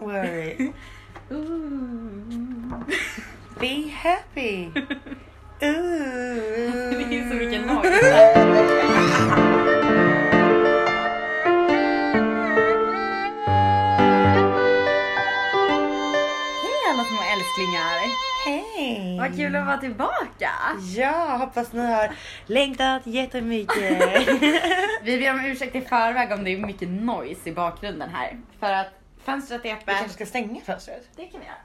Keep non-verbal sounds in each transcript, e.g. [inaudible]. [laughs] worry. Ooh. [laughs] Be happy. Ooh. Det är så mycket Hej alla små älsklingar! Hej! Vad kul att vara tillbaka! Ja, hoppas ni har längtat jättemycket. [laughs] Vi ber om ursäkt i förväg om det är mycket noise i bakgrunden här. För att fönstret är Vi öppet. [laughs] kanske ska stänga fönstret? Det kan vi göra.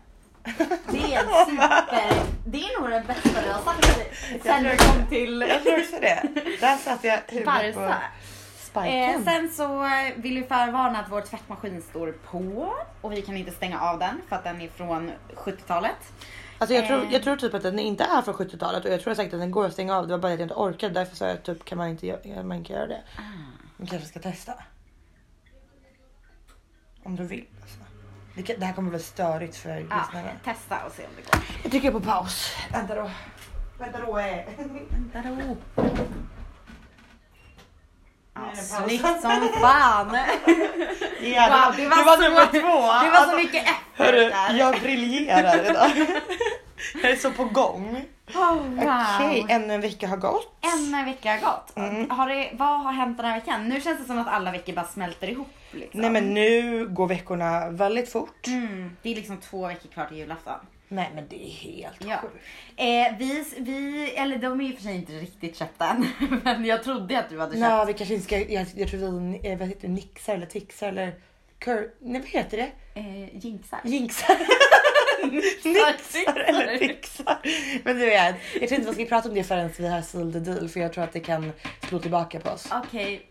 Det är en super... Det är nog det bästa vi har sagt sen vi kom till Jag tror också det. Där satt jag huvudet på Barca. Eh, spiken. sen så vill vi förvarna att vår tvättmaskin står på och vi kan inte stänga av den för att den är från 70-talet. Alltså jag, tror, Eh. jag tror typ att den inte är från 70-talet och jag tror säkert att den går att stänga av. Det var bara att jag inte orkade. Därför sa jag typ kan man inte, eh, gö- man inte göra det. Vi kanske ska testa. Om du vill. Alltså. Det kan- Det här kommer bli störigt för Ja, lyssnarna. Ah, testa och se om det går. Jag trycker på paus. Vänta då. Vänta då. eh. Vänta Nu är det paus. snyggt som fan! Ja, Wow, det, det var var det var så- nummer två. Det var Alltså, så mycket effort Hörru, där. jag briljerar idag. Jag är så på gång. Oh, wow. Okej, ännu en vecka har gått. En vecka har gått. Mm. Har det, vad har hänt den här veckan? Nu känns det som att alla veckor bara smälter ihop. Liksom. Nej men nu går veckorna väldigt fort. Mm, det är liksom två veckor kvar till julafton. Nej men det är helt Ja. sjukt. Eh, vi, vi, eller de är ju för sig inte riktigt köpta än. [laughs] Men jag trodde att du hade köpt. Nej vi kanske inte ska, jag, jag tror vi eh, vad heter det, nixar eller tixar eller cur, nej vad heter det? Eh, jinxar. [laughs] Jinxar. nixar Tixar. eller tixar. Men du vet, jag tror inte vi ska prata om det förrän vi har sealed the deal för jag tror att det kan slå tillbaka på oss. Okej.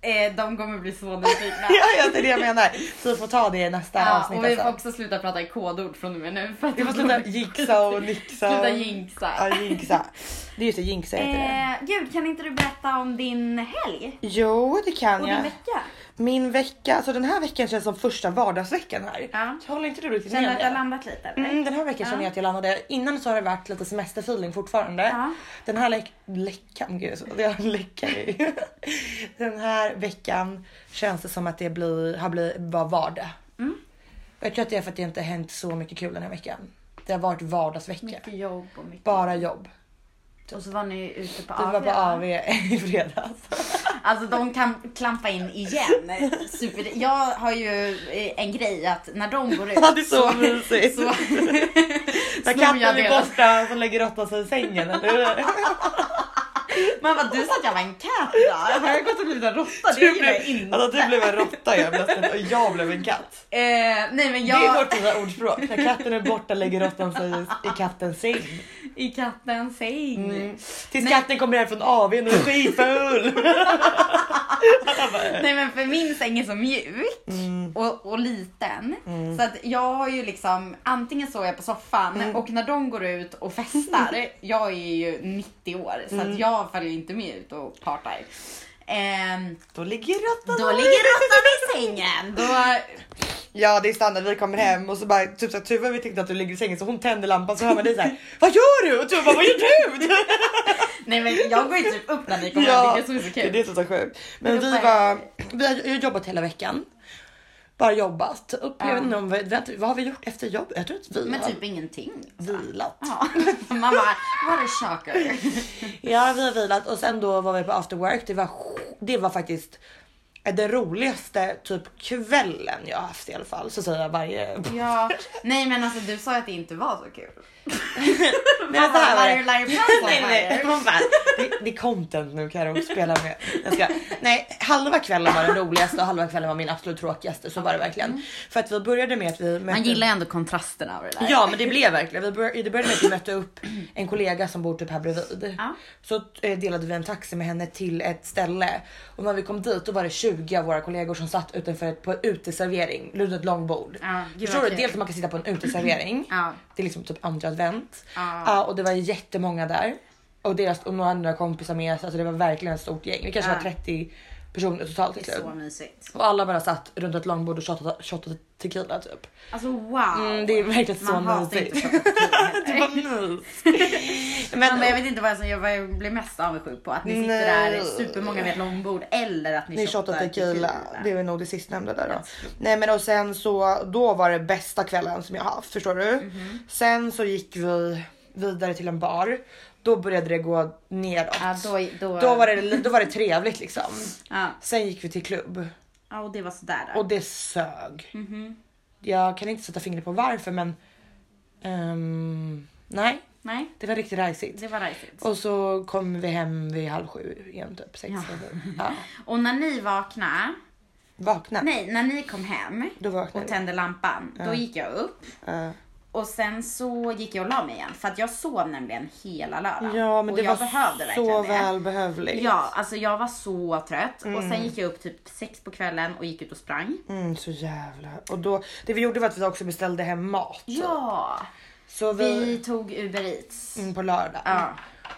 Eh, de kommer bli så nyfikna. [laughs] Ja, ja det är det jag menar. Så vi får ta det i nästa Ja, avsnitt och vi får alltså. också sluta prata i kodord från och med nu. För att Vi får sluta [laughs] jinxa och nixa. och- Sluta jinxa. Ja, jinxa. Det är just det, jinxa heter det. Eh, Gud, kan inte du berätta om din helg? Jo, det kan Och jag. din vecka? Min vecka, alltså den här veckan känns som första vardagsveckan här. Ja. Så Håller inte du riktigt Känner du med att du har det? landat lite? eller? Mm, den här veckan Ja. känner jag att jag landade. Innan så har det varit lite semesterfeeling fortfarande. Ja. Den här läck- läckan, gud så- [laughs] jag läckar ju. Den här veckan känns det som att det blir, har blivit, var vardag. Mm. Jag tror att det är för att det inte har hänt så mycket kul den här veckan. Det har varit vardagsvecka. Mycket jobb och mycket. Bara jobb. Och så var ni ute på Vi var på va? AV i fredags. Alltså de kan klampa in igen. Super. Jag har ju eh, en grej att när de går ut [laughs] Ja, det är så mysigt. [laughs] så När snor katten jag är deras. borta så lägger råttan sig i sängen, eller hur? Man bara du sa att jag var en katt idag. Har jag gått och blivit en råtta? Det Du gillar jag blev, inte. alltså, du blev en råtta jag plötsligt och jag blev en katt. Eh, nej men Det är jag vårt lilla ordspråk. När katten är borta lägger råttan sig i kattens säng. i kattens säng. Mm. Tills Nej. katten kommer här från AWn och är skitfull. Alla bara, eh. Nej men för min säng är så mjuk Mm. och, och liten. Så att jag har ju liksom, antingen sover jag på soffan Mm. och när de går ut och festar, [laughs] jag är ju 90 år så Mm. att jag följer inte med ut och partar. Ehm, Då ligger råttan Då ligger råttan i sängen. Då... Ja det är standard, vi kommer hem och så bara typ såhär Tuva vi tänkte att du ligger i sängen så hon tänder lampan så hör man dig såhär Vad gör du? Och Tuva bara, vad gör du? Nej men jag går ju typ upp när ni kommer Ja, hem. Det är det som är så det är kul. det som är så sjukt. Men Då vi bara- var, vi har jag har jobbat hela veckan. Bara jobbat. Upp, jag Ja. vet inte om vi, vet, vad har vi gjort efter jobb? Jag tror att vi Men har typ ingenting. vilat. Ja. [laughs] Man bara, what a shocker. Ja, vi har vilat och sen då var vi på after work. Det var, sj- det var faktiskt den roligaste typ kvällen jag har haft i alla fall. Så säger [laughs] jag varje... Ja. Nej men alltså du sa ju att det inte var så kul. Alltså, Nej, så här var det. Liar, liar, pants on [laughs] Nej, nej, fire. man bara, det, det är content nu kan jag spela med. Jag ska, nej, halva kvällen var den roligaste och halva kvällen var min absolut tråkigaste. Så var det verkligen. För att vi började med att vi mötte... Mm. Man gillar ju ändå kontrasterna av det där. Ja men det blev verkligen, vi började, det började med att vi mötte upp en kollega som bor typ här bredvid. Ja. Så eh, delade vi en taxi med henne till ett ställe och när vi kom dit då var det 20 av våra kollegor som satt utanför ett, på en uteservering, runt ett långbord. Ja, gud, Förstår vad du? kul. Dels att man kan sitta på en uteservering, Ja. det är liksom typ andra advent. Ja. Ja, och det var jättemånga där. Och deras och några andra kompisar med, så alltså det var verkligen ett stort gäng. Vi kanske Ja. var 30 personer Ah. totalt till Det är slut. så mysigt. Och alla bara satt runt ett långbord och shottade, shottade tequila typ. [laughs] Alltså wow. Mm, det är verkligen så Man hatar mysigt. inte [laughs] choklad. Det var mys. Ja, Men men jag vet inte vad jag, vad jag blir mest avundsjuk på. Att ni sitter Nej. där supermånga vid ett långbord eller att ni, ni shottade tequila. Det är nog det sistnämnda där då. Jag Nej men och sen så då var det bästa kvällen som jag haft förstår du. Mhm. Sen så gick vi vidare till en bar. Då började det gå neråt. Ja, då, då, Då var, det, då var det trevligt liksom. Ja, Sen gick vi till klubb ja och det var sådär. och det sög. Mm-hmm. Jag kan inte sätta fingret på varför men ehm, nej, Nej, det var riktigt rajsigt. det var rajsigt. Och så kom vi hem vid halv sju igen typ. Sex, Ja. sju. ja. Och när ni vaknade, Vakna. nej, när ni kom hem Då vaknade och tände lampan, då gick jag upp vi. Ja. och sen så gick jag och la mig igen för att jag sov nämligen hela lördagen. ja men och det jag behövde var så verkligen det. välbehövligt. Ja, alltså jag var så trött och sen gick jag upp typ sex på kvällen och gick ut och sprang. Mm, så jävla. Och då, det vi gjorde var att vi också beställde hem mat. Ja, Så vi... vi tog Uber Eats. Mm, på lördag. Ja.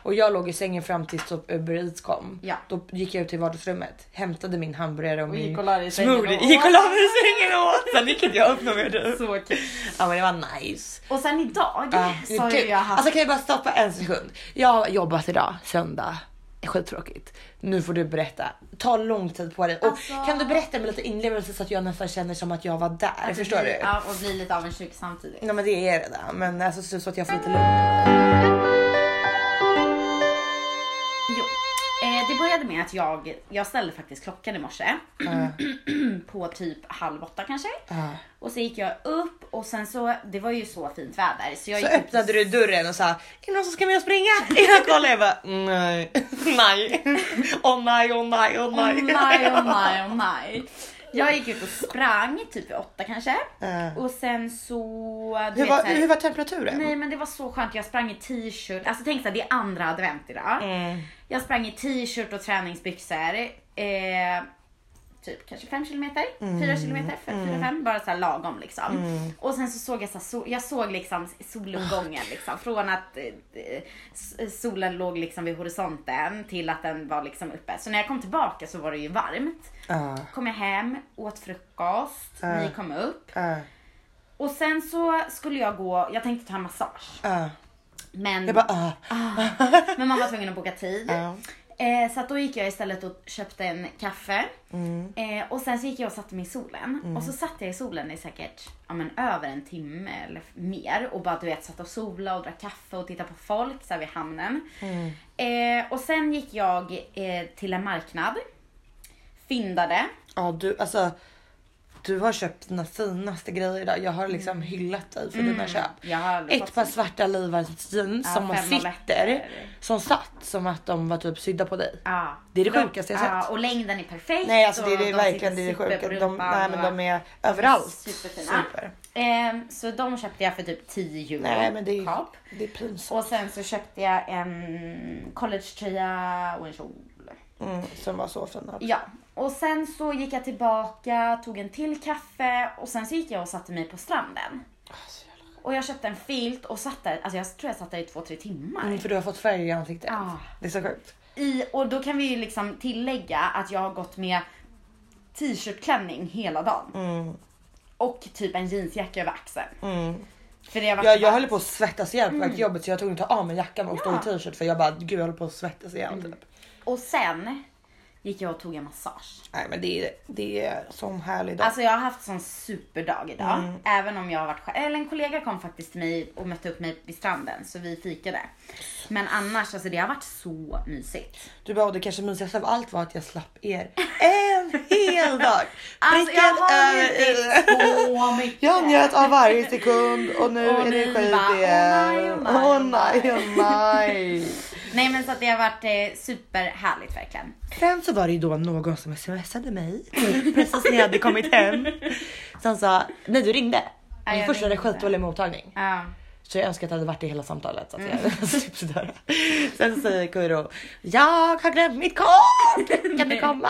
Och jag låg i sängen fram tills typ Uber Eats kom. Ja. Då gick jag ut till vardagsrummet, hämtade min hamburgare och, gick min och la dig i sängen smoothie. och åt. Gick och la mig i sängen och åt. Sen gick inte jag upp någon [laughs] mer typ. Så kul. Ja men det var nice. Och sen idag Ja, så har kul. ju jag haft... Alltså kan jag bara stoppa en sekund? Jag har jobbat idag, söndag. Det är Skittråkigt. Nu får du berätta. Ta lång tid på dig. Och Alltså- kan du berätta med lite inlevelse så att jag nästan känner som att jag var där? Förstår du? Ja. Alltså, Ja, och bli lite avundsjuk samtidigt. men det är det där. Men alltså så, så att jag får lite lugn. Jo. Eh, det började med att jag, jag ställde faktiskt klockan i morse. [clears throat] på typ halv åtta kanske. Ja. Och så gick jag upp och sen så, det var ju så fint väder. Så, jag Så gick upp- öppnade du dörren och sa är det någon som ska med och springa? [laughs] Jag kollade jag bara [laughs] nej, nej, [laughs] åh nej, åh nej, åh [laughs] Åh nej. nej, åh [laughs] nej, åh nej. oh Jag gick ut och sprang typ vid åtta kanske. Eh, Och sen så... du hur, vet var, så här- hur var temperaturen? Nej men det var så skönt, jag sprang i t-shirt. Alltså tänk såhär, det är andra advent idag. Mm. Jag sprang i t-shirt och träningsbyxor. Eh, typ kanske 5 kilometer, Mm. 4 kilometer, 4-5. Bara såhär lagom liksom. Och sen så såg jag såhär, sol, jag såg liksom soluppgången liksom. Från att eh, eh, s- solen låg liksom vid horisonten till att den var liksom uppe. Så när jag kom tillbaka så var det ju varmt. Ja, Kom jag hem, åt frukost, Ja. ni kom upp. ja, Och sen så skulle jag gå, jag tänkte ta en massage. ja. Men, Jag bara ah. [laughs] men man var tvungen att boka tid. Ja. Eh, så att då gick jag istället och köpte en kaffe. Mm. Eh, och sen så gick jag och satte mig i solen. Och så satt jag i solen i säkert ja, men, över en timme eller mer. Och bara du vet satt och sola och drack kaffe och tittade på folk så här, vid hamnen. Mm. Eh, och sen gick jag eh, till en marknad. Fyndade. Ja du alltså du har köpt dina finaste grejer idag. Jag har Mm. liksom hyllat dig för dina köp. Jag har Ett par svarta Levi's jeans Ja, som man fem sitter balletter. som satt som att de var typ sydda på dig. Ja. Det är det De- sjukaste jag sett. Ja, och längden är perfekt. Nej alltså det är och det de verkligen det sitter är det super på sjuka. De, rumpan nej men och- de är överallt. Superfina. Super. Ehm, så de köpte jag för typ 10 euro. Nej men det är, kap. det är pinsamt. Och sen så köpte jag en collegetröja och en kjol. Mm, som var så fina. Ja. Och sen så gick jag tillbaka, tog en till kaffe och sen så gick jag och satte mig på stranden. Alltså, jävla skönt. Och jag köpte en filt och satt där, alltså jag tror jag satt där i två, tre timmar. Mm, för du har fått färg i ansiktet. Ja. Det är så sjukt. I, och då kan vi ju liksom tillägga att jag har gått med t-shirtklänning hela dagen. Mm. Och typ en jeansjacka över axeln. För det har varit Jag, så jag varmt. höll på att svettas ihjäl på väg Mm. till jobbet så jag tog inte av mig jackan och stod i t-shirt för jag bara gud jag håller på att svettas ihjäl. Mm. Typ. Och sen gick jag och tog en massage. Nej men det är, det är sån härlig dag. Alltså jag har haft sån superdag idag. Mm. Även om jag har varit själv. Eller en kollega kom faktiskt till mig och mötte upp mig vid stranden så vi fikade. Men annars, alltså det har varit så mysigt. Du bara, och det kanske mysigaste av allt var att jag slapp er en hel dag. [laughs] Alltså jag Pricken har över i. njutit så mycket. Jag njöt av varje sekund [laughs] och nu Och är det ni skit bara, åh nej, igen. åh nej, Åh åh nej, åh nej. Nej men så att det har varit eh, superhärligt verkligen. [laughs] Sen så var det ju då någon som smsade mig [laughs] precis när jag hade kommit hem. Som sa, nej du ringde. Ja, Min jag första hade ringde. skitdålig mottagning. Ja. Så jag önskar att jag hade varit i hela samtalet. Så att jag Mm. [laughs] slapp sådär. Sen säger Kuro, jag har glömt [laughs] mitt kort! Kan du komma?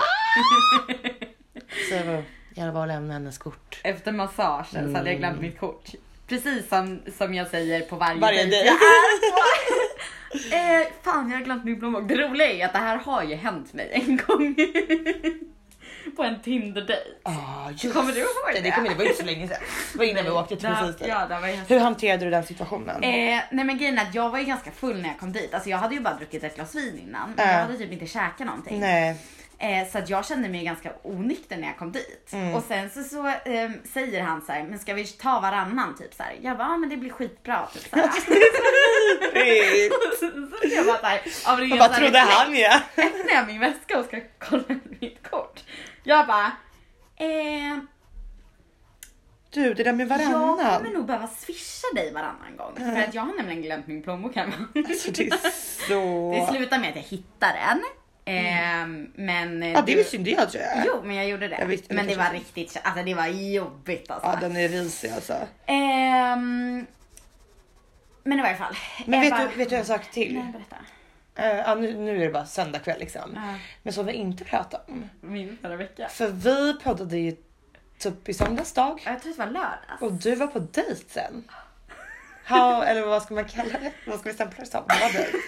Så jag bara, jag var och lämnade hennes kort. Efter massagen så hade jag glömt mitt kort. Precis som, som jag säger på varje, Mm. Varje dejt dejt. jag är på. eh, fan jag har glömt min blombok. Det roliga är att det här har ju hänt mig en gång. [laughs] på en Tinder-dejt. Ah, just Kommer du ihåg det? Det det? kommer det var inte så länge sedan. Det var innan vi åkte till Där- precis det. Ja, där var jag. Hur hanterade du den situationen? Eh, nej men grejen är att jag var ju ganska full när jag kom dit. Alltså jag hade ju bara druckit ett glas vin innan. men Ja. Jag hade typ inte käkat någonting. Nej. [laughs] Eh, så att jag kände mig ganska onykter när jag kom dit. Mm. Och sen så, så ehm, säger han så här, men ska vi ta varannan typ så här. Jag bara, ja men det blir skitbra typ så här. Hey. Och sen så jag bara så här, av ren Jag bara så här trodde reflex han ja. öppnar jag min väska och ska kolla mitt kort. Jag bara, eh, Du det där med jag varannan. kommer nog behöva swisha dig varannan gång. För att jag har nämligen glömt min plånbok hemma. Alltså det är så... Det slutar med att jag hittar en. Eh, men eh, Ja det du- visste inte jag tror jag. Jo, men jag gjorde det. Jag visste, men det jag var kanske- riktigt, alltså det var jobbigt alltså. Ja den är risig alltså. Ehm, men i varje fall. Men jag vet bara- du, vet du en sak till? Nej, berätta. Eh, ja, nu, nu är det bara söndag kväll liksom. Ja. Men som vi inte pratar om. Min förra vecka. För vi poddade ju typ i söndags dag. Ja, Jag tror att det var lördags. Och du var på dejten. How, eller vad ska man kalla det? Vad ska vi stämpla det som? Det var dejt.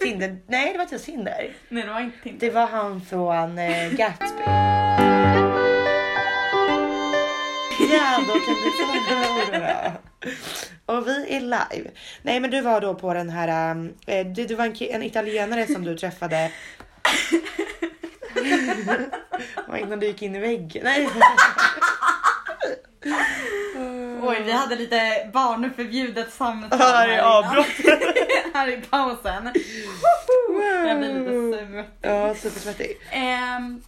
Tinder? Nej det var inte Tinder. Nej, det var inte Tinder. Det var han från eh, Gatsby. Ja, då kan du få höra. Och vi är live. Nej, men du var då på den här. um, Eh, det, det var en, ki- en italienare som du träffade. Det var innan du gick in i väggen. Nej. Oj, vi hade lite barnförbjudet samtal Mm. Här är innan. [laughs] avbrottet. [laughs] här i pausen. Jag blir lite Mm. sur. Ja, supersvettig. Ehm,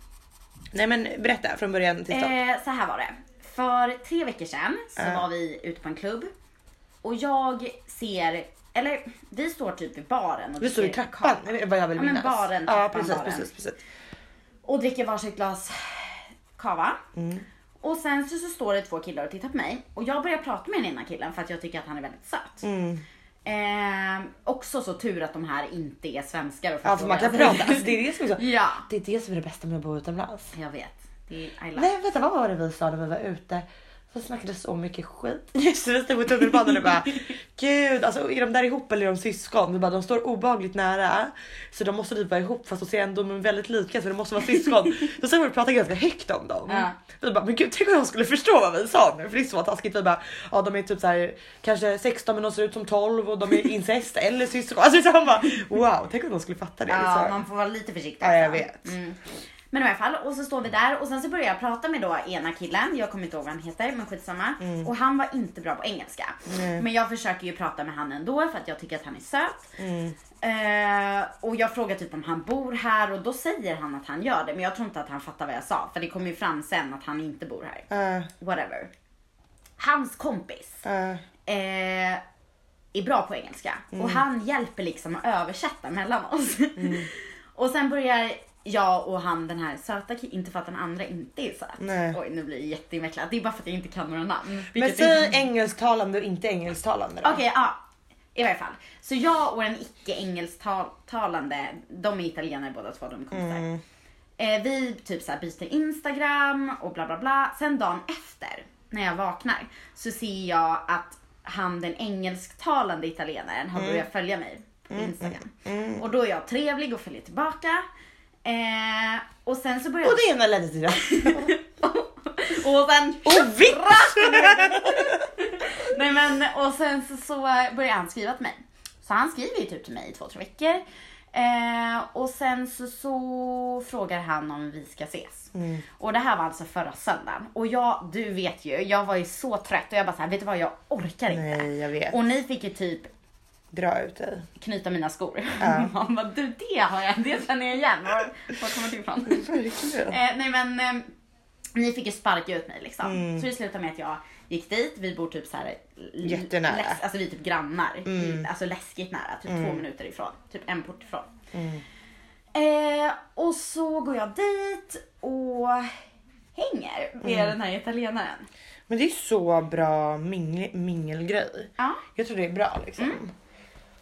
Nej, men berätta från början till stopp. eh, så här var det. För tre veckor sedan så Ja. var vi ute på en klubb och jag ser, eller vi står typ vid baren och Vi stod i dricker trappan, vad jag vill Ja, men minnas. baren, ja, trappan, precis, baren. precis, precis. och dricker varsitt glas kava. Mm. Och sen så, så står det två killar och tittar på mig och jag börjar prata med den ena killen för att jag tycker att han är väldigt söt. Mm. Ehm, också så tur att de här inte är svenskar och Ja, för man kan vad jag prata. [laughs] säger. Alltså, det, är det, som är så. Ja, det är det som är det bästa med att bo utomlands. jag vet. Det är, I love Nej, vänta, vad var det vi sa när vi var ute? Vi snackade så mycket skit. [laughs] Just det, vi stod på tunnelbanan [laughs] och bara gud, alltså är de där ihop eller är de syskon? Vi bara, de står obagligt nära så de måste typ vara ihop fast de ser ändå men väldigt lika så de måste vara [laughs] syskon. Då sen vi prata ganska högt om dem. Ja. Vi bara, men gud tänk om de skulle förstå vad vi sa nu för det är så taskigt. Vi bara, ja de är typ så här kanske 16 men de ser ut som 12 och [laughs] de är incest eller syskon. Alltså så man bara wow, tänk om de skulle fatta det. Ja, så. man får vara lite försiktig. Ja, jag också. vet. Mm. Men i alla fall, och så står vi där och sen så börjar jag prata med då ena killen, jag kommer inte ihåg vad han heter men skitsamma. Och han var inte bra på engelska. Men jag försöker ju prata med han ändå för att jag tycker att han är söt. Eh, och jag frågar typ om han bor här och då säger han att han gör det men jag tror inte att han fattar vad jag sa för det kommer ju fram sen att han inte bor här. Eh, Whatever. Hans kompis eh, eh, är bra på engelska. Mm. Och han hjälper liksom att översätta mellan oss. [laughs] och sen börjar jag och han den här söta killen, inte för att den andra inte är söt. Nej. Oj nu blir det jätteinvecklat. Det är bara för att jag inte kan några namn. Men vilket är- säg engelsktalande och inte engelsktalande då. Okej, ja. I varje fall. Så jag och en icke engelsktalande, de är italienare båda två, de är kompisar. Eh, vi typ så här byter Instagram och bla bla bla. Sen dagen efter, när jag vaknar, så ser jag att han den engelsktalande italienaren har börjat följa mig på Instagram. Och då är jag trevlig och följer tillbaka. Eh, och sen så börjar Och det ena ledde till det. [laughs] och sen Och vitt! Nej men och sen så, så började han skriva till mig. Så han skriver ju typ till mig i två, tre veckor. Eh, och sen så, så frågar han om vi ska ses. Och det här var alltså förra söndagen. Och jag, du vet ju, jag var ju så trött och jag bara så här, vet du vad jag orkar inte. Nej jag vet. Och ni fick ju typ Dra ut dig. knyta mina skor. [laughs] Han bara, du det har jag, det känner jag igen. Var, var kommer det ifrån? Verkligen. Eh, nej men eh, ni fick ju sparka ut mig liksom. Mm. Så det slutade med att jag gick dit, vi bor typ så här l- Jättenära. Mm. läs- alltså vi är typ grannar. Alltså läskigt nära, typ två minuter ifrån. Typ en port ifrån. Mm. Eh, och så går jag dit och hänger med Mm. den här italienaren. Men det är så bra mingel, mingelgrej. Ja. Mm. Jag tror det är bra liksom.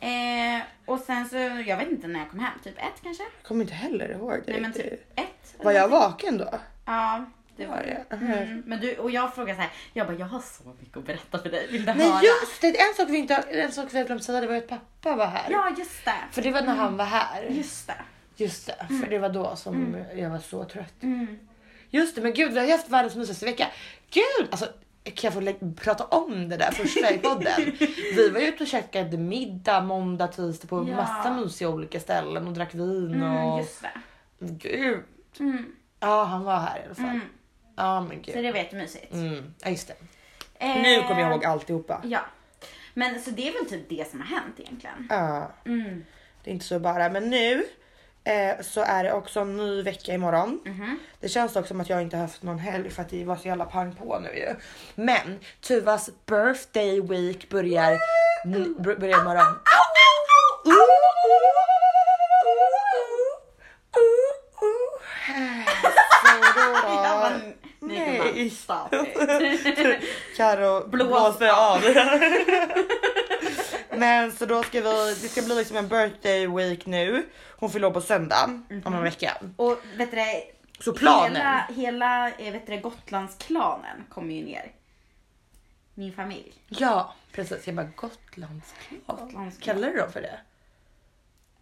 Eh, och sen så, jag vet inte när jag kom hem, typ ett kanske? Jag kommer inte heller ihåg det. Nej men riktigt. typ ett. Var jag vaken då? Ja, det var Var det. jag? Mm. Men du, och jag frågar så här, jag bara jag har så mycket att berätta för dig, vill du Nej höra? just det, en sak vi inte en sak vi har glömt säga det var att pappa var här. Ja, Mm. just det. För det var när han var här. Just det. Mm. Just det, för det var då som jag var så trött. Just det, men gud vi har ju haft världens mysigaste vecka. Gud! Alltså, kan jag få lä- prata om det där första [laughs] i podden? vi var ute och käkade middag måndag, tisdag på Ja. massa mysiga olika ställen och drack vin Mm, och... just det. Gud! Mm, Ja, han var här i alla fall. mm. Ja, men Så Eh. gud. det var jättemysigt. Mm. Ja, just det. Mm. Nu kommer jag ihåg alltihopa. Eh, Ja. Men så det är väl typ det som har hänt egentligen. Ja, Mm. det är inte så bara. Men nu eh, så är det också en ny vecka imorgon. Mhm. Det känns dock som att jag inte haft någon helg för att det var så jävla pang på nu ju. Men Tuvas birthday week börjar, n- br- börjar [laughs] imorgon. [laughs] Jag bara, nej. nej. Stopp. [laughs] Karo blåser av. [laughs] Men så då ska vi, det ska bli liksom en birthday week nu. Hon fyller år på söndag om en vecka. Och vet du det, Så planen. Mhm. Hela, hela eh, vet du det, Gotlandsklanen kommer ju ner. Min familj. Ja precis, jag bara Gotlandsklanen. Gotlandsklanen. Kallar du dem för det?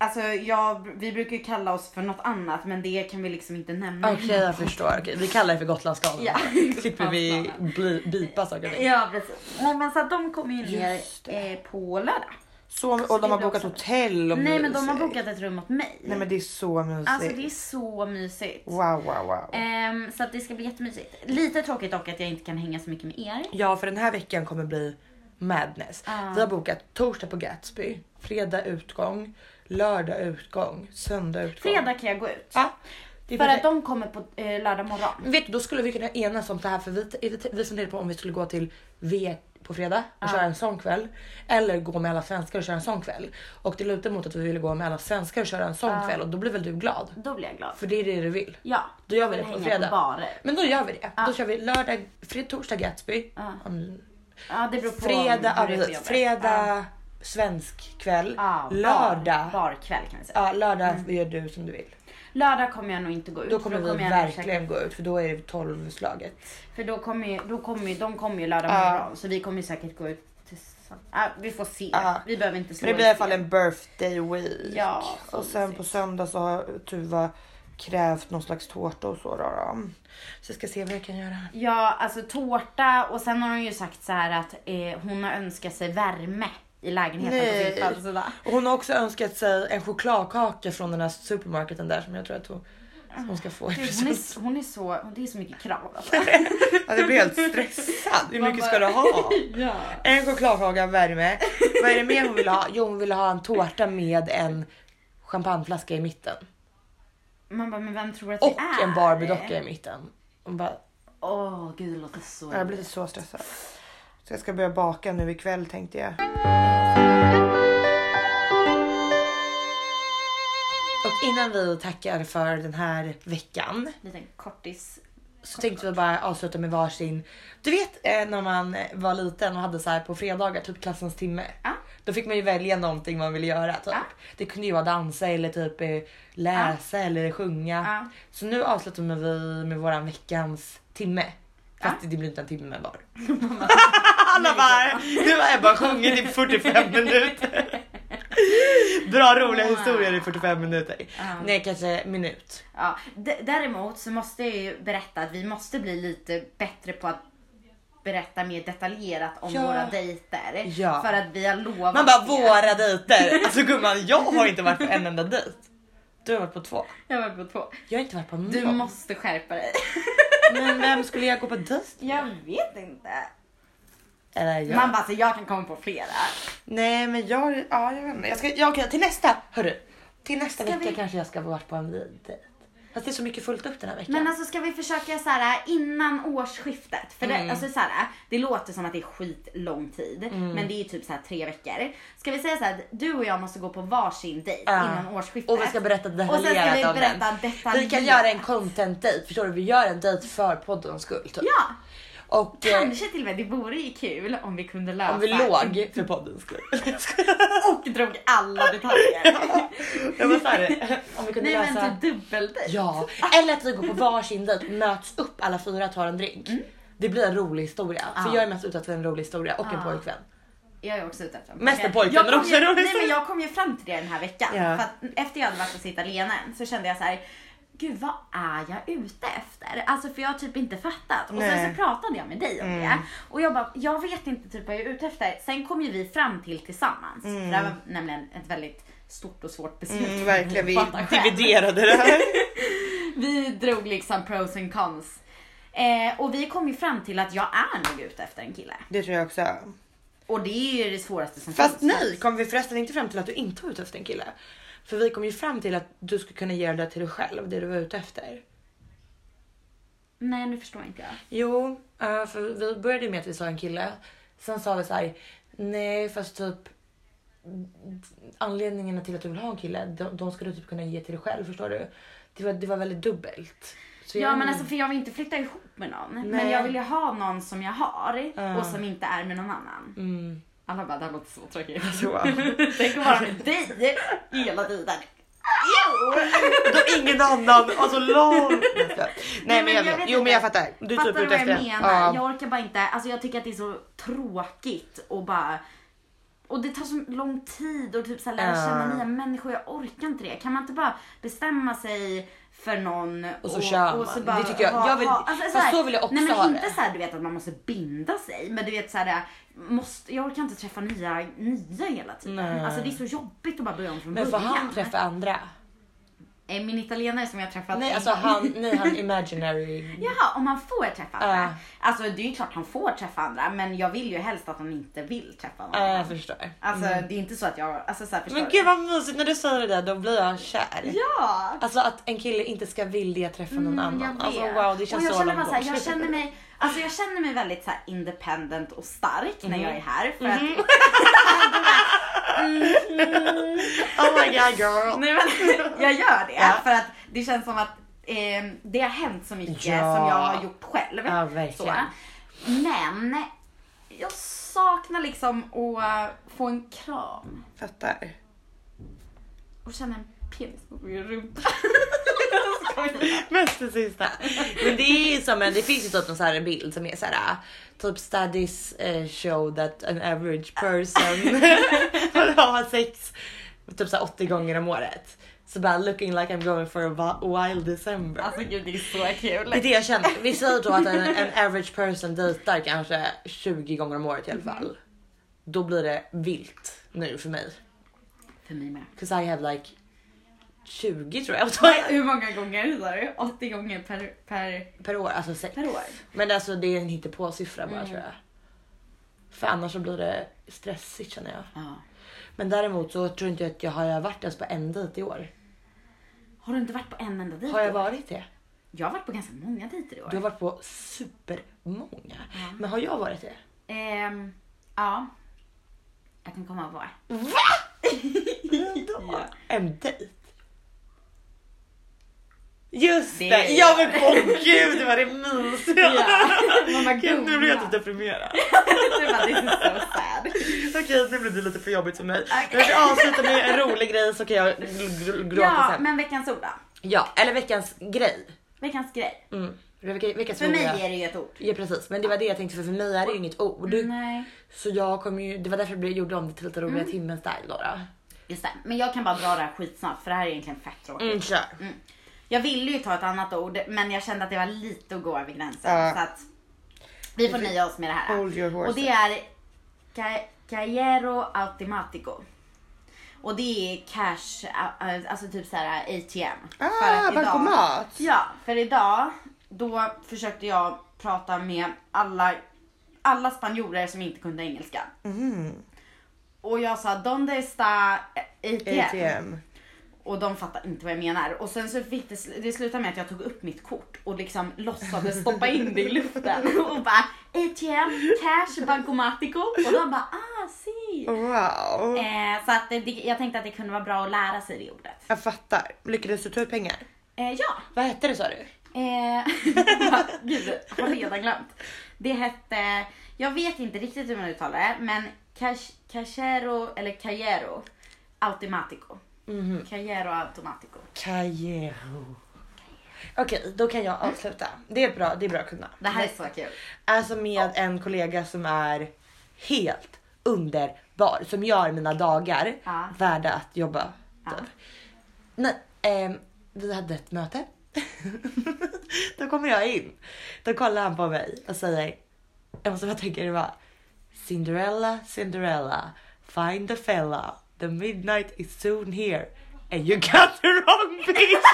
Alltså jag, vi brukar ju kalla oss för något annat men det kan vi liksom inte nämna. Okej jag förstår, Okej, vi kallar det för Gotlandsskalan. Ja, Slipper vi Gotlandsskalan. bli, bipa saker och ting. Ja precis. Nej, men så att de kommer ju ner Just det. eh, på lördag. Så, och de har det blir bokat också- hotell och Nej men de har mysigt. bokat ett rum åt mig. Nej men det är så mysigt. Alltså det är så mysigt. Wow wow wow. Ehm, så att det ska bli jättemysigt. Lite tråkigt dock att jag inte kan hänga så mycket med er. Ja för den här veckan kommer bli madness. Ja. Vi har bokat torsdag på Gatsby, fredag utgång, lördag utgång, söndag utgång. Fredag kan jag gå ut. Ja. Det är För att perfekt. de kommer på eh, lördag morgon. Vet du, då skulle vi kunna enas om det här för vi, vi, vi funderade på om vi skulle gå till V på fredag Ah. och köra en sån kväll. Eller gå med alla svenskar och köra en sån kväll. Och det lutar mot att vi ville gå med alla svenskar och köra en Ah. sån kväll och då blir väl du glad? Då blir jag glad. För det är det du vill. Ja, Då gör vi jag det vill på hänga fredag. på Ah. barer. Men då gör vi det. Då kör vi lördag, fred, torsdag Gatsby. Ah. Om- Ja, det beror på Fredag, hur det är på ja, jobbet. fredag svensk kväll. Ja, bar- lördag. Barkväll kan vi säga. Ja, lördag gör du som du vill. Lördag kommer jag nog inte gå ut. Då kommer för vi jag nog verkligen gå ut för då är det 12 slaget. Säkert, för då kommer, ju, då kommer ju, de kommer ju lördag Ja. morgon så vi kommer ju säkert gå ut tillsammans. Ah, vi får se. Ja. Vi behöver inte slå Men det blir i alla fall sten. en birthday week. Ja, så och sen mysigt. på söndag så har Tuva krävt någon slags tårta och så då. då. Så jag ska se vad jag kan göra. Ja, alltså tårta och sen har hon ju sagt så här att eh, hon har önskat sig värme i lägenheten på sin Nej. födelsedag. Och hon har också önskat sig en chokladkaka från den här supermarketen där som jag tror att hon, som hon ska få i Gud, Hon present. är, hon är så, det är så mycket krav alltså. [laughs] Ja, det blir helt stressad. Hur mycket ska du ha? ja. En chokladkaka, värme. Vad är det mer hon vill ha? Jo hon vill ha en tårta med en champagneflaska i mitten. Man bara, men vem tror att Och det är? en Barbie-docka i mitten. Hon bara, Åh gud det låter så jag blir så stressad. Så jag ska börja baka nu ikväll tänkte jag. Och innan vi tackar för den här veckan liten kortis. så tänkte vi bara avsluta med varsin. Du vet eh, när man var liten och hade så här på fredagar, typ klassens timme. Ja. Då fick man ju välja någonting man ville göra. Typ. Ja. Det kunde ju vara dansa eller typ eh, läsa eller sjunga. Ja. Så nu avslutar vi med våran veckans timme. Fast det blir inte en timme [laughs] var. Alla bara, nu har Ebba sjungit i [laughs] 45 minuter. Dra roliga Wow. historier i 45 minuter. Nej kanske minut. Ja. D- däremot så måste jag ju berätta att vi måste bli lite bättre på att berätta mer detaljerat om Ja. våra dejter. Ja. För att vi har lovat Man bara det. våra dejter. Alltså gumman jag har inte varit på en enda dejt. Du har varit på två. Jag var på två. Jag har inte varit på någon. Du måste skärpa dig. Men vem skulle jag gå på dejt jag vet inte. Eller jag? Man bara, så jag kan komma på flera. Nej men jag, ja jag vet inte. Jag ska, ja, okej, till nästa, hörru. Till nästa Ska vecka vi- kanske jag ska vara på en dejt. Fast det är så mycket fullt upp den här veckan. Men alltså ska vi försöka så här innan årsskiftet? För det, alltså, så här, det låter som att det är skitlång tid, men det är ju typ så här tre veckor. Ska vi säga så här, att du och jag måste gå på varsin dejt Ja. innan årsskiftet. Och vi ska berätta alltså- Och sen ska vi detaljerat om berätta den. detaljerat. Vi kan göra en content dejt förstår du? Vi gör en dejt för poddens skull. Typ. Ja, Och eh, kanske till och med. Det vore ju kul om vi kunde lösa. om vi låg för poddens skull. [laughs] [laughs] Och drog alla [laughs] detaljer. Jag var så här, om vi kunde Nej lösa... men typ dubbeldejt. Ja, eller att vi går på varsin dejt, möts upp alla fyra, tar en drink. Det blir en rolig historia. För Mm. Ja. jag är mest ute efter en rolig historia och en Ja. pojkvän. Jag är också ute efter en Mest pojke. en pojke, Jag men kom också ju- en rolig Nej men historia. jag kom ju fram till det den här veckan. Ja. För att efter jag hade varit hos italienaren så kände jag så här. gud vad är jag ute efter? Alltså för jag har typ inte fattat. Och sen Nej. Mm. så pratade jag med dig om det. Och jag bara, jag vet inte typ vad jag är ute efter. Sen kom ju vi fram till tillsammans. För det här var nämligen ett väldigt stort och svårt beslut. Mm, [laughs] verkligen, vi Fatta själv. dividerade det [laughs] här. Vi drog liksom pros and cons. Eh, och vi kom ju fram till att jag är nog ute efter en kille. Det tror jag också. Och det är ju det svåraste som Fast finns. nej, kom vi förresten inte fram till att du inte var ute efter en kille? För vi kom ju fram till att du skulle kunna ge det där till dig själv, det du var ute efter. Nej, nu förstår inte jag. Jo, eh, för vi började ju med att vi sa en kille. Sen sa vi så här, nej fast typ anledningarna till att du vill ha en kille, de, de ska du typ kunna ge till dig själv, förstår du? Det var, det var väldigt dubbelt. Så jag- Ja men alltså för jag vill inte flytta ihop med någon. Men Nej. jag vill ju ha någon som jag har Ja. och som inte är med någon annan. Mm, Alla bara, det här låter så tråkigt. [laughs] [laughs] så. [laughs] Tänk att vara med dig hela [laughs] tiden. Då ingen annan, alltså lol. Nej, Nej, men Nej men jag jag, vet vet. Jo inte. men jag fattar. Du är Fattar typ du ute vad jag efter en- menar? ja. Jag orkar bara inte, alltså jag tycker att det är så tråkigt och bara och det tar så lång tid och typ så här lära Ja. känna nya människor, jag orkar inte det. Kan man inte bara bestämma sig för någon Och så kör och så man. bara alltså, Det tycker jag- jag vill- fast här- så vill jag också nej, men ha inte det. så här, du vet att man måste binda sig men du vet så här, måste, jag orkar inte träffa nya, nya hela tiden. Nej. Alltså det är så jobbigt att bara börja om från Men får början. han träffa andra? Eh, Min italienare som jag har träffat Nej en alltså gång. han, [laughs] nej han imaginary. Jaha, om han får träffa andra. Ja. Alltså det är ju klart han får träffa andra men jag vill ju helst att han inte vill träffa någon. Ja, jag förstår. Mm. Alltså det är inte så att jag, alltså så här, förstår Men du? gud vad mysigt när du säger det där, då blir jag kär. Ja! Alltså att en kille inte ska vilja träffa någon Mm, annan. jag Alltså vet. wow, det känns och jag så känner långt bara så här, jag bort. känner mig Alltså jag känner mig väldigt så här independent och stark när Mm. jag är här. För att, [laughs] Oh my god [laughs] girl. [laughs] nej, men, jag gör det för att det känns som att eh, det har hänt så mycket Ja. som jag har gjort själv. Ja, verkligen. Så. Men jag saknar liksom att få en kram. Fattar. och känna en penis på min [laughs] rumpa. [laughs] Mest det sista. Men det är ju som en, det finns ju typ en sån här bild som är så här typ studies eh, show that an average person [laughs] har sex typ så här 80 gånger om året. Så bara looking like I'm going for a wi- wild December. alltså gud det är så kul. Det är det jag känner. Vi säger då att en, en average person dejtar kanske 20 gånger om året i alla fall. Då blir det vilt nu för mig. För mig med. Cause I have like 20 tror jag [laughs] Hur många gånger sa du? 80 gånger per, per, per år. Alltså sex. per år? Men alltså det är en hittepåsiffra Mm. bara tror jag. För annars så blir det stressigt känner jag. Ja. Men däremot så tror inte jag att jag har varit ens på en dejt i år. Har du inte varit på en enda dejt? Har jag i år? varit det? jag har varit på ganska många dejter i år. Du har varit på supermånga. Men har jag [laughs] varit det? Ehm, ja. Jag kan komma [laughs] på. Ja. En dejt? Just Det- det! Ja men åh gud vad det mysigt! Mamma Gud, nu blir jag gumma. typ deprimerad. Du bara, this is so sad. Okej nu blir det lite för jobbigt för mig. Jag ska avsluta med en rolig grej så kan jag gl- gl- gråta Ja, sen. men veckans ord då? Ja eller veckans grej. Veckans grej. Mm. Vecka, veckans För mig roliga. är det Mm. ju ett ord. Ja precis men det var det jag tänkte för för mig är det ju inget ord. Nej. Så jag kom ju, det var därför jag gjorde om det till lite roliga Mm. timmen style då. då. Just det. Men jag kan bara dra det här skitsnabbt för det här är egentligen fett tråkigt. Mm kör. Jag ville ju ta ett annat ord men jag kände att det var lite att gå över gränsen. Ja. Så att vi får nöja oss med det här. Hold your Och horses. det är ca- Cajero Automatico. Och det är cash, äh, alltså typ så här ATM. För att Ah idag- bankomat! Ja, för idag då försökte jag prata med alla, alla spanjorer som inte kunde engelska. Mhm. Och jag sa “Donde está ATM. ATM. Och de fattar inte vad jag menar. Och sen så fick det, sl- det slutade med att jag tog upp mitt kort och liksom låtsades stoppa in det i luften [laughs] och bara ATM, cash, bankomatico. Och de bara ah, si. Wow. Eh, så att det, det- jag tänkte att det kunde vara bra att lära sig det ordet. Jag fattar. Lyckades du ta ut pengar? Eh, ja. Vad hette det sa du? Eh, [laughs] gud, har redan glömt. Det hette, jag vet inte riktigt hur man uttalar det, men cash, cashero eller cajero automatico. Cajero automatico. Cajero. Okej, då kan jag avsluta. Det är bra, det är bra att kunna. Det här är så kul. Alltså med en kollega som är helt underbar, som gör mina dagar Ja. värda att jobba. Ja. Typ. Nej, ehm, vi hade ett möte [laughs] Då kommer jag in. Då kollar han på mig och säger, jag måste bara tänka det var Cinderella, Cinderella, find the fella, the midnight is soon here and you got the wrong [laughs] bitch.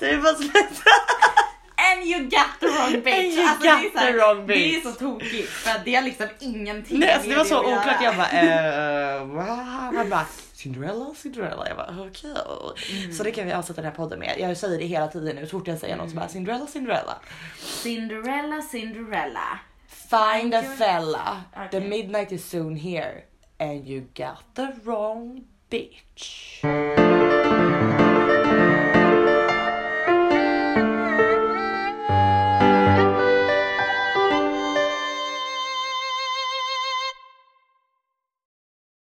du bara Typ sluta. And you got the wrong bitch. And you alltså, det, är got så här, the wrong det är bitch. så tokigt för att det har liksom ingenting Nej, alltså det med var så att göra. oklart. Jag bara, eh, va? Han bara, Cinderella, Cinderella. Jag bara, okej. Så det kan vi avsätta den här podden med. Jag säger det hela tiden nu. Så fort jag säger något så bara, Cinderella, Cinderella. Cinderella, Cinderella. Find a fella. The Okej. midnight is soon here. And you got the wrong bitch.